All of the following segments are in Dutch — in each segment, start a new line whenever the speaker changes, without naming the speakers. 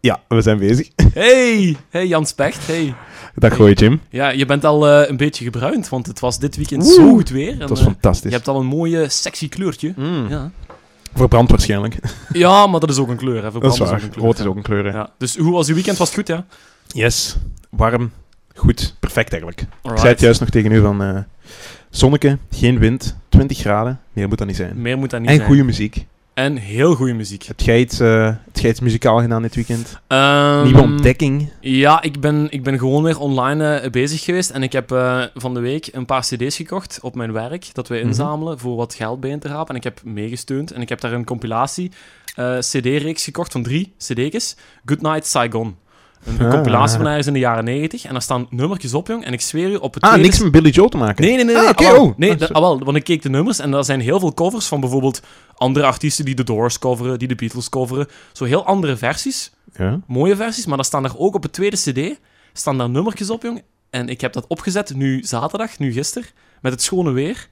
Ja, we zijn bezig.
Hey, hey Jan Specht, hey.
Dag, gooi Jim.
Ja, je bent al eh, een beetje gebruind, want het was dit weekend
Oeh,
zo goed weer. En,
Het was
eh,
fantastisch.
je hebt al een mooie, sexy kleurtje.
Mm.
Ja.
Verbrand waarschijnlijk.
ja, maar dat is ook een kleur, hè. Verbrand
Dat is
ook
waar.
een kleur.
Rood is ook een kleur. hè.
Ja. Dus hoe was je weekend? Was het goed, ja?
Yes. Warm. Goed. Perfect eigenlijk. Ik
Alright.
zei het juist nog tegen u van... eh zonneke, geen wind, 20 graden. Meer moet dat niet zijn.
Meer moet dat niet
En
zijn.
goede muziek.
En heel goede muziek.
Heb jij iets, eh, heb jij iets muzikaal gedaan dit weekend?
Ehm,
Nieuwe ontdekking?
Ja, ik ben, ik ben gewoon weer online eh, bezig geweest. En ik heb eh, van de week een paar cd's gekocht op mijn werk. Dat we
Mhm.
inzamelen voor wat geld bij te rapen. En ik heb meegesteund. En ik heb daar een compilatie eh, cd-reeks gekocht van drie cd's. Goodnight Saigon. Een, een
Ah.
compilatie van ergens in de jaren negentig. En daar staan nummertjes op, jong. En ik zweer u op het
Ah,
tweede
niks met Billy Joel te maken?
dus- Nee, nee, nee.
Ah,
nee,
oké,
awel.
oh.
nee
Ah,
dat-
sorry.
awel, want ik keek de nummers en daar zijn heel veel covers van bijvoorbeeld andere artiesten die The Doors coveren, die The Beatles coveren. Zo heel andere versies,
Ja.
mooie versies, maar daar staan er ook op het tweede cd, staan daar nummertjes op, jong. En ik heb dat opgezet nu zaterdag, nu gisteren, met het schone weer.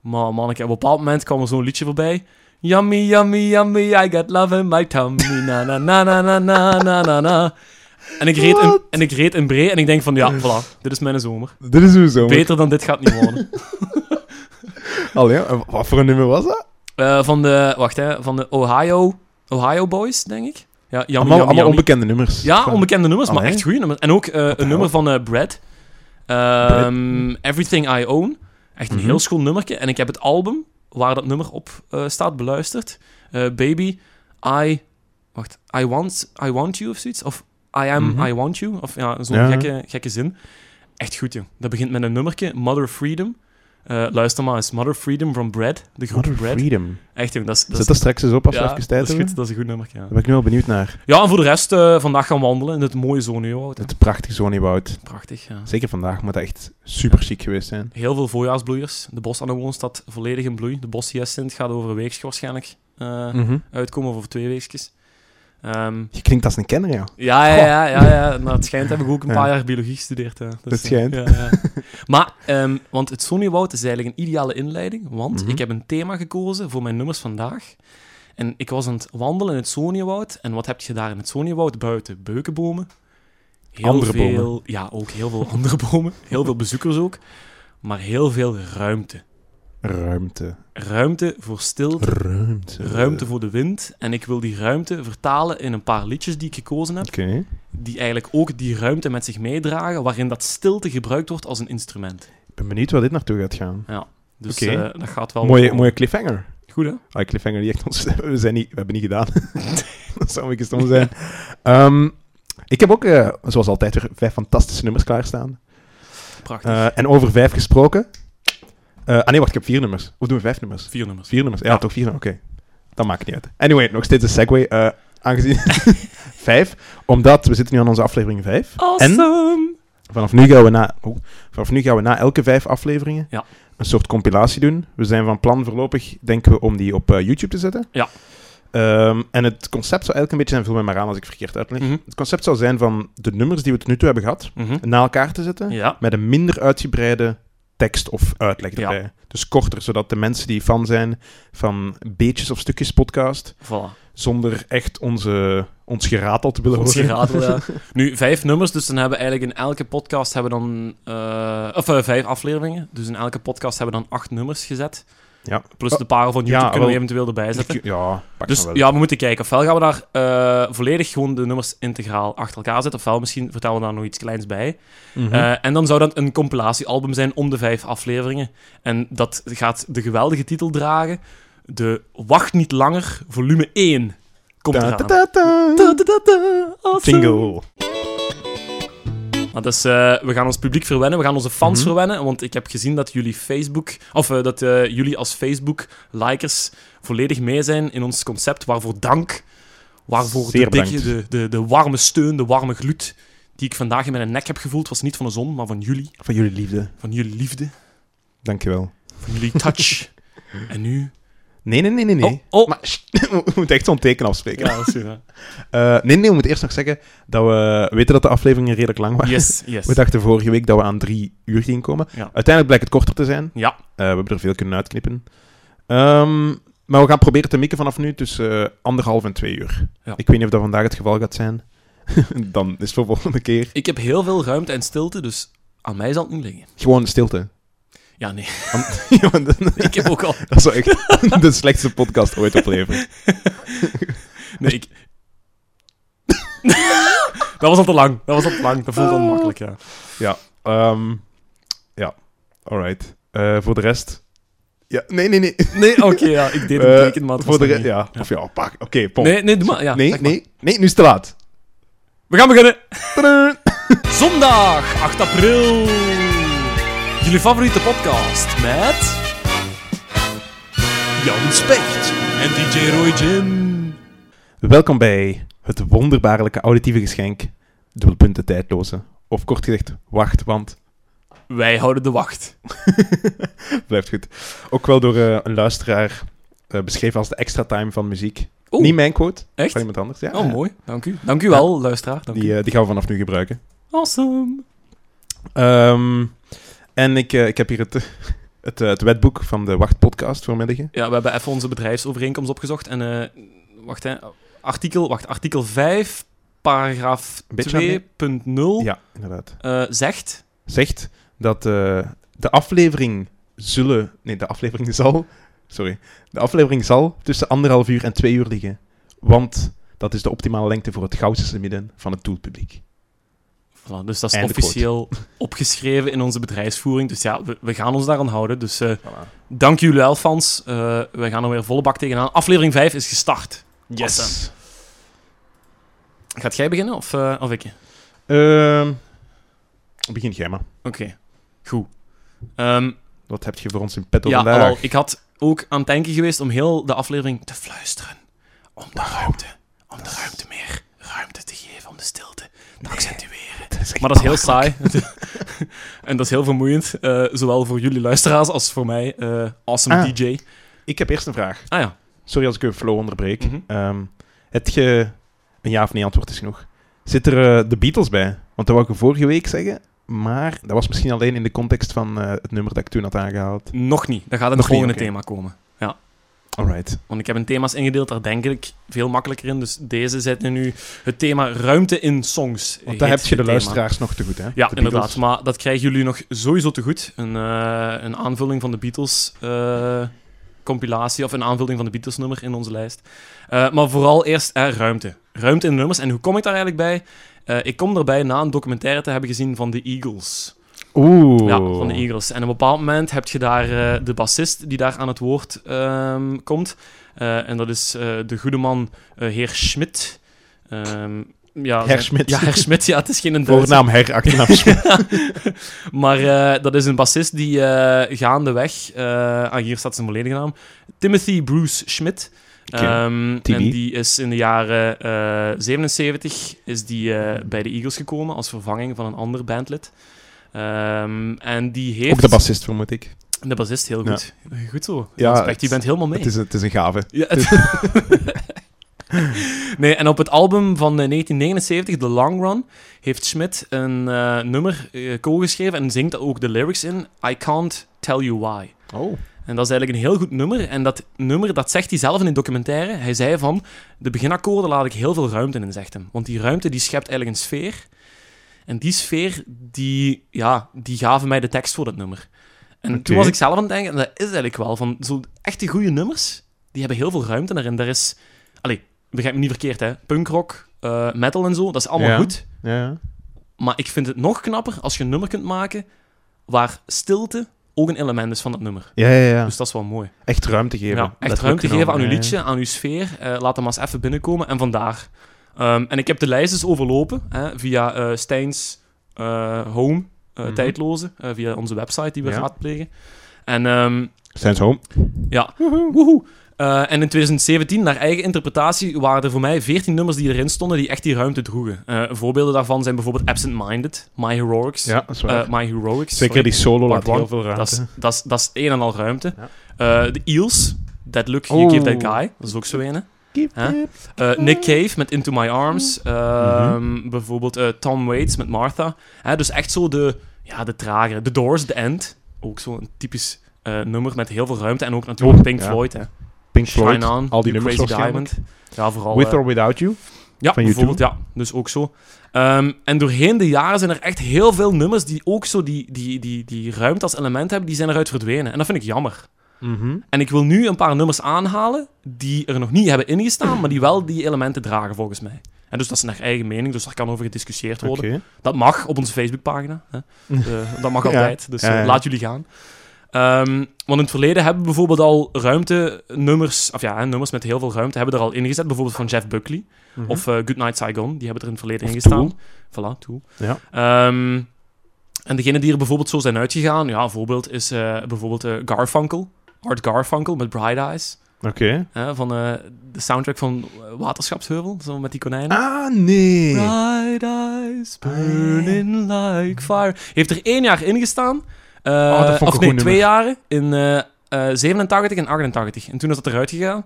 Maar manneke, op een bepaald moment kwam er zo'n liedje voorbij. Yummy, yummy, yummy, I got love in my tummy, na na na na na na na na na. En ik reed in, en ik reed in Bree en ik denk van, ja, voilà, dit is mijn zomer.
Dit is uw zomer.
Beter dan dit gaat niet worden.
Allee, ja. En wat voor een nummer was dat?
Eh, van de, wacht hè, van de Ohio, Ohio Boys, denk ik. Ja, yummy,
allemaal
yummy,
allemaal
yummy.
onbekende nummers.
Ja,
Van-
onbekende nummers, maar
Allee.
echt goede nummers. En ook eh, een
hell?
nummer van eh Brad. Ehm, Everything I Own. Echt een
Mhm.
heel schoon nummertje. En ik heb het album waar dat nummer op eh, staat beluisterd. Eh, Baby, I... Wacht, I want, I want You of zoiets? Of I am,
Mhm.
I want You? Of ja, zo'n
Ja.
gekke, gekke zin. Echt goed, joh. Dat begint met een nummertje, Mother Freedom. Eh, luister maar eens, Mother Freedom van Brad. De groep
Mother
Brad.
Freedom.
Echt, jong, dat is... dat is-
Zet dat straks eens op als we even tijd
dat is
hebben.
goed, dat is een goed nummer. Ja,
Daar ben ik nu al benieuwd naar.
ja en voor de rest eh, vandaag gaan wandelen in het mooie zonnewoud.
Het prachtige Zoniewoud.
Prachtig, ja.
Zeker vandaag moet dat echt super chic geweest zijn.
Heel veel voorjaarsbloeiers. De bos aan de woonstad volledig in bloei. De bos hyacinth gaat over een weekje waarschijnlijk eh, uitkomen, of over twee weekjes. Ehm,
Je klinkt als een kenner, ja.
ja, ja,
Goh.
ja, ja, ja. Nou, het schijnt heb ik ook een
Ja.
paar jaar biologie gestudeerd. Hè. Dus,
Dat
eh,
schijnt.
ja, ja. Maar, ehm, want het Sonnywoud is eigenlijk een ideale inleiding, want
Mhm.
ik heb een thema gekozen voor mijn nummers vandaag. En ik was aan het wandelen in het Sonnywoud. En wat heb je daar in het Sonnywoud buiten? Beukenbomen. Heel
Andere
veel,
bomen.
Ja, ook heel veel andere bomen. Heel veel bezoekers ook. Maar heel veel ruimte.
Ruimte.
Ruimte voor stilte,
Ruimte.
ruimte voor de wind. En ik wil die ruimte vertalen in een paar liedjes die ik gekozen heb
Oké.
die eigenlijk ook die ruimte met zich meedragen, waarin dat stilte gebruikt wordt als een instrument.
Ik ben benieuwd waar dit naartoe gaat gaan.
Dus
Oké.
eh, dat gaat wel...
Mooie,
wel-
mooie cliffhanger.
Goed, hè?
Ah, cliffhanger die echt ons... We, zijn niet, we hebben niet gedaan. dat zou een beetje stom zijn. Ehm, ik heb ook, eh, zoals altijd, weer vijf fantastische nummers klaarstaan.
Prachtig.
Eh, en over vijf gesproken... Eh, ah nee, wacht, ik heb vier nummers. Of doen we vijf nummers?
Vier nummers.
Vier nummers? Ja, toch vier nummers? Oké. Dat maakt niet uit. Anyway, nog steeds een segue. eh, aangezien... vijf. Omdat we zitten nu aan onze aflevering vijf.
Awesome!
Vanaf nu gaan we na, oh, vanaf nu gaan we na elke vijf afleveringen
Ja.
een soort compilatie doen. We zijn van plan voorlopig, denken we, om die op eh, YouTube te zetten.
Ja.
Ehm, en het concept zou eigenlijk een beetje zijn, vul mij maar aan als ik verkeerd uitleg.
Mhm,
Het concept zou zijn van de nummers die we tot nu toe hebben gehad,
mhm.
na elkaar te zetten,
Ja,
met een minder uitgebreide tekst of uitleg
Ja.
erbij. Dus korter, zodat de mensen die fan zijn van beetjes of stukjes podcast,
voilà.
zonder echt onze, ons geratel te willen
Ons
horen.
geratel, ja. Nu, vijf nummers, dus dan hebben we eigenlijk in elke podcast hebben we dan... eh, of eh, vijf afleveringen. Dus in elke podcast hebben we dan acht nummers gezet.
Ja.
Plus de parel van YouTube
Ja,
kunnen we
wel.
eventueel erbij zetten.
Ja, pak
Dus
maar wel.
ja, we moeten kijken. Ofwel gaan we daar eh, volledig gewoon de nummers integraal achter elkaar zetten. Ofwel misschien vertellen we daar nog iets kleins bij.
Mhm.
Eh, en dan zou dat een compilatiealbum zijn om de vijf afleveringen. En dat gaat de geweldige titel dragen. De Wacht Niet Langer, volume 1. Komt
Ta-
eraan.
ta- ta- ta.
Ta-ta-ta-ta, awesome.
Jingle.
Maar dat is, eh, we gaan ons publiek verwennen, we gaan onze fans
Mhm.
verwennen. Want ik heb gezien dat jullie Facebook, of eh, dat eh, jullie als Facebook-likers volledig mee zijn in ons concept. Waarvoor dank. Waarvoor de,
Zeer
dikke, de,
bedankt.
de, de warme steun, de warme gloed die ik vandaag in mijn nek heb gevoeld, was niet van de zon, maar van jullie.
Van jullie liefde.
Van jullie liefde.
Dankjewel.
van jullie touch. en nu...
Nee, nee, nee, nee. nee.
Oh, oh.
Maar, we moeten echt zo'n teken afspreken.
Ja, dat is goed, hè.
Eh, nee, nee, we moeten eerst nog zeggen dat we weten dat de afleveringen redelijk lang waren.
Yes, yes.
We dachten vorige week dat we aan drie uur gingen komen.
Ja.
Uiteindelijk blijkt het korter te zijn.
Ja.
Eh, we hebben er veel kunnen uitknippen. Ehm, maar we gaan proberen te mikken vanaf nu tussen eh, anderhalf en twee uur.
Ja.
Ik weet niet of dat vandaag het geval gaat zijn. Dan is het voor de volgende keer
Ik heb heel veel ruimte en stilte, dus aan mij zal het niet liggen.
gewoon stilte.
Ja, nee.
Ja, want dat
Ik heb ook al...
dat zou echt de slechtste podcast ooit opleveren.
Nee, ik... dat was al te lang. Dat was al te lang. Dat voelde onmakkelijk, ja.
Ehm, ja, alright. Eh, voor de rest... Ja, nee, nee, nee.
Nee, oké, ja. Ik deed
Eh,
het teken, maar het
voor
was
de re-
er niet.
ja. Of ja, pak. Oké, pom.
Nee, nee, doe maar. Ja,
nee,
zeg maar.
nee, nee, nu is het te laat.
We gaan beginnen.
Tadaa.
Zondag, 8 april. Jullie favoriete podcast met... Jan Specht en DJ Roy Jim.
Welkom bij het wonderbaarlijke auditieve geschenk, dubbelpunten tijdloze. Of kort gezegd, wacht, want
Wij houden de wacht.
blijft goed. Ook wel door eh, een luisteraar eh, beschreven als de extra time van muziek.
Oeh.
Niet mijn quote,
Echt?
van iemand anders. Ja,
Oh, mooi. Dank u. Dank u wel, luisteraar. Dank
Die,
u.
eh, die gaan we vanaf nu gebruiken.
Awesome.
Ehm, en ik, eh, ik heb hier het, het, eh, het wetboek van de Wacht-podcast voor mij liggen.
Ja, we hebben even onze bedrijfsovereenkomst opgezocht. En eh, wacht, hè. Artikel, wacht, artikel 5, paragraaf 2.0
Beetje aan Ja, inderdaad.
eh, zegt...
zegt dat eh, de aflevering zullen... Nee, de aflevering zal... Sorry. De aflevering zal tussen anderhalf uur en twee uur liggen. Want dat is de optimale lengte voor het gauwste midden van het doelpubliek.
Voilà, dus dat is
Einde
officieel opgeschreven in onze bedrijfsvoering. Dus ja, we, we gaan ons daaraan houden. Dus eh,
Voilà.
dank jullie wel, fans. Eh, we gaan er weer volle bak tegenaan. Aflevering 5 is gestart. Awesome. Gaat jij beginnen of, eh, of ik? Oké,
Ehm, begin jij maar.
goed. Ehm,
Wat heb je voor ons in petto
ja,
vandaag?
alhoewel, ik had ook aan het denken geweest om heel de aflevering te fluisteren. Om de ruimte, om de ruimte meer ruimte te geven, om de stilte te accentueren. Maar dat is heel saai. en dat is heel vermoeiend, eh, zowel voor jullie luisteraars als voor mij. eh, awesome
Ah.
DJ.
Ik heb eerst een vraag.
Ah ja.
Sorry als ik uw flow onderbreek.
Mhm.
Ehm, heb je... Een ja of nee antwoord is genoeg. Zit er eh, de Beatles bij? Want dat wou ik vorige week zeggen, maar dat was misschien alleen in de context van eh, het nummer dat ik toen had aangehaald.
Nog niet. Dan gaat in
Nog
het volgende
niet, oké.
thema komen.
Alright.
Want ik heb een thema's ingedeeld, daar denk ik veel makkelijker in. Dus deze zet nu het thema ruimte in songs.
Want daar
heet
heb je de
dit thema.
luisteraars nog te goed, hè?
Ja,
De Beatles.
inderdaad. Maar dat krijgen jullie nog sowieso te goed. Een, eh, een aanvulling van de Beatles eh, compilatie of een aanvulling van de Beatles nummer in onze lijst. Eh, maar vooral eerst eh, ruimte. Ruimte in de nummers. En hoe kom ik daar eigenlijk bij? Eh, ik kom daarbij na een documentaire te hebben gezien van de Eagles.
Oeh.
Ja, van de Eagles. En op een bepaald moment heb je daar eh, de bassist die daar aan het woord ehm, komt. Eh, en dat is eh, de goede man eh, heer Schmidt. Ehm, ja,
Herr
zijn-
Schmidt.
Ja, Herr Schmidt. Ja, het is geen een Duitser.
Voornaam, her, achternaam.
Maar eh, dat is een bassist die eh, gaandeweg... eh, ah, hier staat zijn volledige naam. Timothy Bruce Schmidt.
Oké,
Ehm,
TB.
en die is in de jaren eh, 77 is die, eh, bij de Eagles gekomen als vervanging van een ander bandlid. Ehm, en die heeft...
Ook de bassist, vermoed ik.
De bassist, heel
Ja.
goed. Goed zo.
Ja,
Ja,
het-
je bent helemaal mee.
Het, is, het is een gave.
Ja, het- nee, en op het album van eh, 1979, The Long Run, heeft Schmidt een eh, nummer eh, co-geschreven en zingt daar ook de lyrics in. I can't tell you why.
Oh.
En dat is eigenlijk een heel goed nummer. En dat nummer, dat zegt hij zelf in de documentaire. Hij zei van, de beginakkoorden laat ik heel veel ruimte in, zegt hem. Want die ruimte, die schept eigenlijk een sfeer. En die sfeer, die, ja, die gaven mij de tekst voor dat nummer. En
Oké.
toen was ik zelf aan het denken, en dat is eigenlijk wel, van zo'n echte goede nummers, die hebben heel veel ruimte daarin. Daar is, allee, begrijp me niet verkeerd hè, punkrock, eh, metal en zo, dat is allemaal
Ja.
goed.
Ja.
Maar ik vind het nog knapper als je een nummer kunt maken waar stilte ook een element is van dat nummer.
Ja, ja, ja.
Dus dat is wel mooi.
Echt ruimte geven.
Ja, echt
Letterlijk
ruimte
genomen,
geven aan uw
ja, ja.
liedje, aan uw sfeer. Eh, laat hem maar eens even binnenkomen. En vandaar. Ehm, en ik heb de lijst dus overlopen hè, via eh Stijn's eh, Home, eh,
Mhm.
tijdloze, eh, via onze website die we
Ja.
raadplegen. En ehm,
Zijn ze home?
ja, woehoe. Eh, en in 2017, naar eigen interpretatie, waren er voor mij 14 nummers die erin stonden die echt die ruimte droegen. Eh, voorbeelden daarvan zijn bijvoorbeeld Absent Minded, My Heroics.
Ja, dat is waar.
eh, My Heroics.
Zeker
sorry.
die solo
Part
laat heel
one.
veel
Dat is-
ruimte.
Dat is- dat is een en al ruimte.
Ja.
Eh, de Eels, That Look You
Oh.
Give That Guy, dat is ook zo een.
Keep
Hè?
it.
Eh, Nick Cave met Into My Arms. ehm,
Mhm.
Bijvoorbeeld eh, Tom Waits met Martha. Hè, dus echt zo de, ja, de tragere. The Doors, The End. Ook zo'n typisch eh, nummer met heel veel ruimte. En ook natuurlijk
Oh,
Pink
ja.
Floyd. Hè.
Pink Floyd.
Shine On,
al die
You
nummers
Crazy
waarschijnlijk.
Diamond. Ja, vooral...
With
eh,
or without you.
Ja,
Van U2?
bijvoorbeeld, ja. Dus ook zo. Ehm, en doorheen de jaren zijn er echt heel veel nummers die ook zo die, die, die, die ruimte als element hebben, die zijn eruit verdwenen. En dat vind ik jammer.
Mhm.
En ik wil nu een paar nummers aanhalen die er nog niet hebben ingestaan, maar die wel die elementen dragen volgens mij. En dus dat is naar eigen mening, dus daar kan over gediscussieerd worden.
Oké.
Dat mag op onze Facebookpagina. Hè. Eh, dat mag
Ja.
altijd, dus eh,
Ja, ja.
laat jullie gaan. Ehm, want in het verleden hebben we bijvoorbeeld al ruimtenummers, of ja, hè, nummers met heel veel ruimte, hebben er al ingezet. Bijvoorbeeld van Jeff Buckley
Mhm.
of eh Goodnight Saigon, die hebben er in het verleden
Of
ingestaan. Voilà, Tool.
Ja.
Ehm, en degenen die er bijvoorbeeld zo zijn uitgegaan, ja, een voorbeeld is eh, bijvoorbeeld eh, Garfunkel, Art Garfunkel met Bright Eyes,
Oké.
hè, van eh, de soundtrack van eh, Waterschapsheuvel, zo met die konijnen.
Ah, nee.
Bright eyes burning like fire. Heeft er één jaar in gestaan. Eh,
Oh, dat vond ik
of
een
nee,
goed
twee jaren. In eh, eh, 87 en 88. En toen is dat eruit gegaan.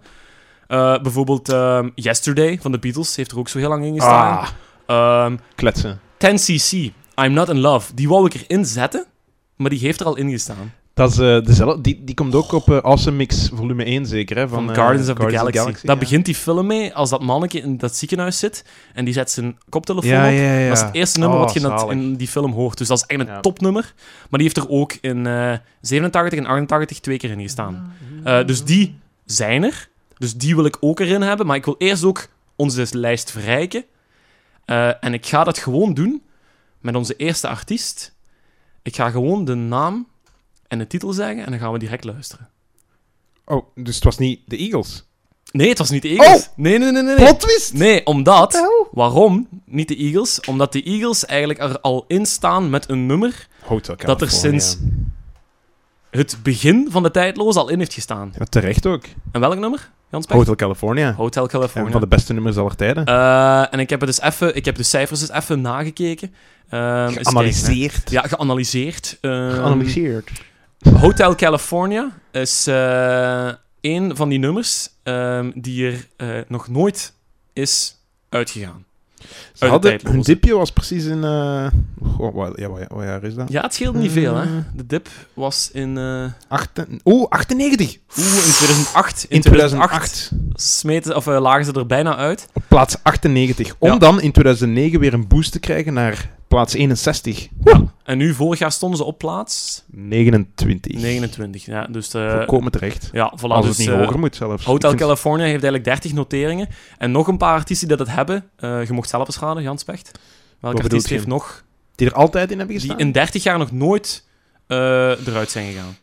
Eh, bijvoorbeeld ehm, Yesterday van de Beatles heeft er ook zo heel lang in gestaan.
Ah,
Ehm,
kletsen.
10cc, I'm Not In Love. Die wou ik erin zetten, maar die heeft er al in gestaan.
Dat is, eh, dezelfde, die, die komt ook op eh, Awesome Mix volume 1 zeker, hè? Van,
Van,
eh,
Guardians of the Galaxy. Daar
ja.
begint die film mee als dat mannetje in dat ziekenhuis zit. En die zet zijn koptelefoon
Ja,
op.
ja, ja.
Dat is het eerste nummer
Oh,
wat je in, dat-
zalig.
in die film hoort. Dus dat is echt een
Ja.
topnummer. Maar die heeft er ook in eh 87 en 88 twee keer in gestaan. Eh, dus die zijn er. Dus die wil ik ook erin hebben. Maar ik wil eerst ook onze lijst verrijken. Eh, en ik ga dat gewoon doen met onze eerste artiest. Ik ga gewoon de naam en de titel zeggen en dan gaan we direct luisteren.
Oh, dus het was niet de Eagles.
Nee, het was niet de Eagles. Nee, nee, nee, nee. nee.
Oh! twist!
Nee, omdat...
Wel?
Waarom niet de Eagles? Omdat de Eagles eigenlijk er al in staan met een nummer
Hotel
Dat er
California.
sinds- het begin van de tijdloos al in heeft gestaan.
Ja, terecht ook.
En welk nummer, Jans Peck?
Hotel California.
Hotel
Een
California.
van de beste nummers aller tijden.
Eh, en ik heb, het dus even, ik heb de cijfers dus even nagekeken. Ehm, eens kijken, hè. ja, geanalyseerd. Ehm,
Geanalyseerd.
Hotel California is eh één van die nummers ehm, die er eh, nog nooit is uitgegaan.
Ze
de
hadden,
tijdloze.
hun dipje was precies in... eh goh, wat, ja, wat, wat jaar is dat?
Ja, het scheelt niet veel, hè.
Eh.
De dip was in... eh,
Acht, oeh, 98!
Oeh, in 2008.
In 2008.
smeten, of, eh, lagen ze er bijna uit.
Op plaats 98. Om
Ja.
dan in 2009 weer een boost te krijgen naar plaats 61.
Ja. En nu, vorig jaar stonden ze op plaats
29.
29. Ja, dus eh,
Volkomen terecht.
ja, voilà,
Als
dus,
het niet
eh,
hoger moet zelfs.
Hotel
Ik vind-
California heeft eigenlijk 30 noteringen. En nog een paar artiesten die dat hebben. Eh, je mocht zelf eens raden, Jan Specht. Welke
bedoelt
artiest
je?
heeft nog...
Die er altijd in hebben
Die
gestaan?
in 30 jaar nog nooit eh, eruit zijn gegaan.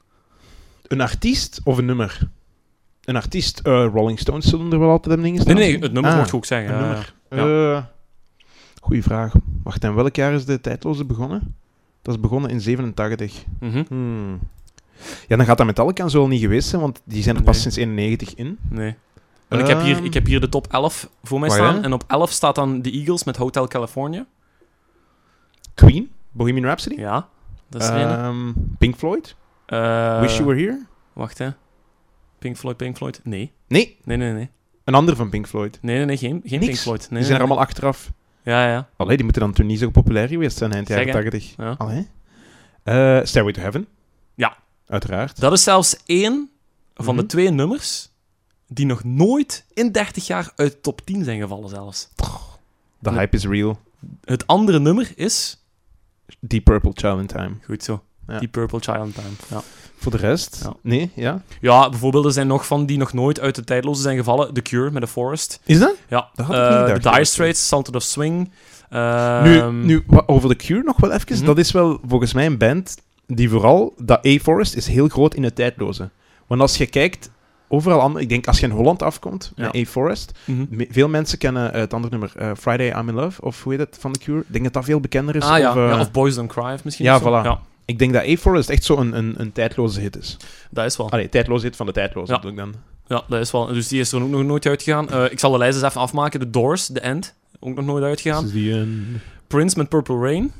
Een artiest of een nummer? Een artiest. eh, Rolling Stones zullen er wel altijd hebben
Nee,
ingestaan.
nee, het nummer
Ah,
mocht je ook zeggen.
een
ja,
nummer.
ja.
Eh, goeie vraag. Wacht, en welk jaar is de tijdloze begonnen? Dat is begonnen in 87.
ja. Mhm.
Hmm. Ja, dan gaat dat met alle kans wel niet geweest zijn, want die zijn er pas
Nee.
sinds 91 in.
Nee. Want ik, heb hier,
Ehm.
ik heb hier de top 11 voor mij
Waar,
staan.
hè?
En op 11 staat dan de Eagles met Hotel California.
Queen, Bohemian Rhapsody,
Ja, dat is er een.
Ehm, Pink Floyd,
Eh,
Wish You Were Here.
Wacht, hè. Pink Floyd, Pink Floyd. Nee.
Nee,
Nee, nee, nee.
een ander van Pink Floyd.
Nee, nee, nee. Geen, geen
Niks.
Pink Floyd. Nee,
die zijn
nee,
er allemaal achteraf.
nee. Ja, ja.
Allee, die moeten dan toen niet zo populair geweest zijn eind
Zeg,
jaren 80.
Ja.
Allee. Eh, Stairway to Heaven.
Ja.
Uiteraard.
Dat is zelfs één van de
Mhm.
twee nummers die nog nooit in 30 jaar uit de top 10 zijn gevallen zelfs.
The Hype is Real.
Het andere nummer is...
Deep Purple Child in Time.
Goed zo.
Ja.
Die Purple Child Time. Ja.
Voor de rest?
Ja.
Nee, ja.
ja, bijvoorbeeld er zijn nog van die nog nooit uit de tijdloze zijn gevallen. The Cure met The Forest.
Is dat?
Ja.
Dat had ik
Eh,
niet gedacht,
The Dire
eigenlijk.
Straits, Sultan of Swing.
nu,
Ehm,
nu wa- over de Cure nog wel even.
Mhm.
Dat is wel volgens mij een band die vooral... Dat A-Forest is heel groot in het tijdloze. Want als je kijkt, overal anders... Ik denk, als je in Holland afkomt,
Ja.
naar A-Forest...
mhm.
me- Veel mensen kennen eh, het andere nummer, eh, Friday I'm in Love, of hoe heet dat, van de Cure. Ik denk dat dat veel bekender is.
Ah ja.
of, eh,
ja, of Boys Don't Cry of misschien.
ja,
of zo.
voilà.
Ja,
Ik denk dat A-Forest echt zo'n een, een, een tijdloze hit is.
dat is wel.
Allee, tijdloze hit van de tijdloze,
Ja.
bedoel ik dan.
Ja, dat is wel. Dus die is er ook nog nooit uitgegaan. Eh, ik zal de lijst eens even afmaken. The Doors, The End, ook nog nooit uitgegaan.
Dus die, eh,
Prince met Purple Rain.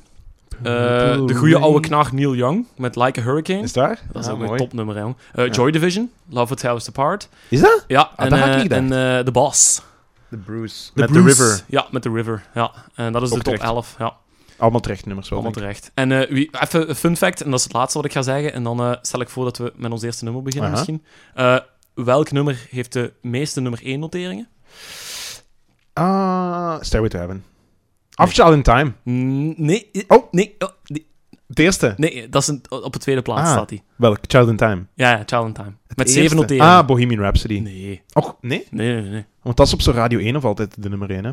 Eh, de goede oude knaag Neil Young met Like a Hurricane.
Is daar?
dat is
Ah,
ook een
mooi.
topnummer, hè, jong. Eh, Joy Division, Love What Tears Us Apart.
Is dat?
Ja,
Ah,
en,
dat had ik
eh,
niet
en
gedacht.
eh, The Boss.
The Bruce.
The
Met The
Bruce.
River.
Ja, met The River. Ja, en dat is
Ook
de top
terecht.
11. Ja,
Allemaal terecht nummers wel.
allemaal
denk ik.
terecht. En eh, wie, even een fun fact, en dat is het laatste wat ik ga zeggen. En dan eh, stel ik voor dat we met ons eerste nummer beginnen
Aha.
misschien. Eh, welk nummer heeft de meeste nummer 1 noteringen?
Ah, Stairway to Heaven. Of Child in Time.
Mm, Nee. eh,
Oh.
Nee, oh, nee,
Het eerste.
nee, dat is een, op de tweede plaats
Ah.
staat hij.
Welk? Child in Time.
Ja, ja, Child in Time. Met
Eerste.
7 noteringen.
Ah, Bohemian Rhapsody.
Nee,
Och, nee?
nee, nee. nee.
Want dat is op zo'n Radio 1 of altijd de nummer 1, hè?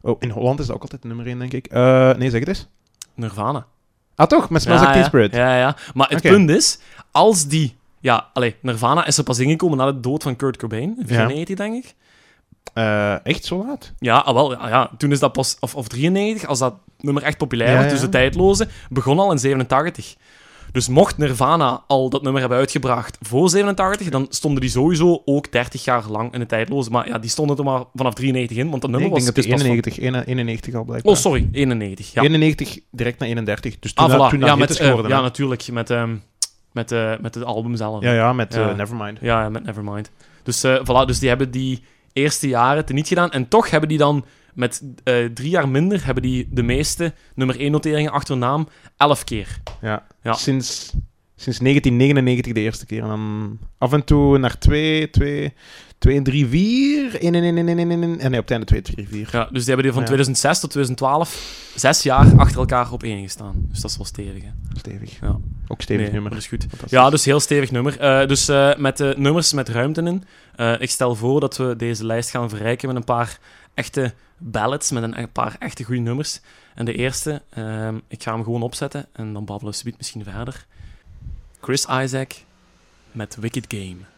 Oh, in Holland is dat ook altijd de nummer 1, denk ik. Eh, nee, zeg het eens.
Nirvana.
Ah, toch? Met Smells
ja,
Like
ja,
Teen Spirit.
Ja, ja. Maar het
Oké.
punt is, als die... Ja, allee, Nirvana is er pas ingekomen na de dood van Kurt Cobain. in 94, denk ik.
Eh, echt zo laat?
Ja, ah, wel, ja, ja, toen is dat pas... Of, of 93, als dat nummer echt populair
Ja,
werd,
ja.
dus de tijdloze, begon al in 87. Dus mocht Nirvana al dat nummer hebben uitgebracht voor 87, dan stonden die sowieso ook 30 jaar lang in de tijdloze. Maar ja, die stonden er maar vanaf 93 in, want dat
Nee,
nummer
ik denk
was...
dat die
is pas van-
91, 91 al blijkbaar.
Oh, sorry, 91. Ja,
91 direct naar 31. Dus toen,
ah,
dat,
voilà.
toen dat
ja,
hit
met,
is
eh,
geworden.
ja,
hè?
natuurlijk, met, ehm met, eh, met het album zelf.
ja, ja, met
Ja.
eh, Nevermind.
Ja, ja, met Nevermind. Dus, eh, voilà, dus die hebben die eerste jaren niet gedaan. En toch hebben die dan met eh, drie jaar minder hebben die de meeste nummer 1 noteringen achter hun naam elf keer.
Ja.
Ja.
Sinds, sinds 1999 de eerste keer. En dan af en toe naar 2, 2, 2 en 3, 4. 1 en 1 en 1 en 1 en Ah, nee, op het einde 2, 3, 4.
Ja, dus die hebben die van
Ja.
2006 tot 2012 zes jaar achter elkaar op één gestaan. Dus dat is wel stevig. Hè?
Stevig.
Ja.
Ook stevig
Nee,
nummer.
Dat is goed.
Fantastisch.
Ja, dus heel stevig nummer. Eh, dus eh, met eh, nummers met ruimte in. Eh, ik stel voor dat we deze lijst gaan verrijken met een paar echte ballads, met een, een paar echte goede nummers. En de eerste, ehm, ik ga hem gewoon opzetten en dan babbelen we subiet misschien verder. Chris Isaac met Wicked Game.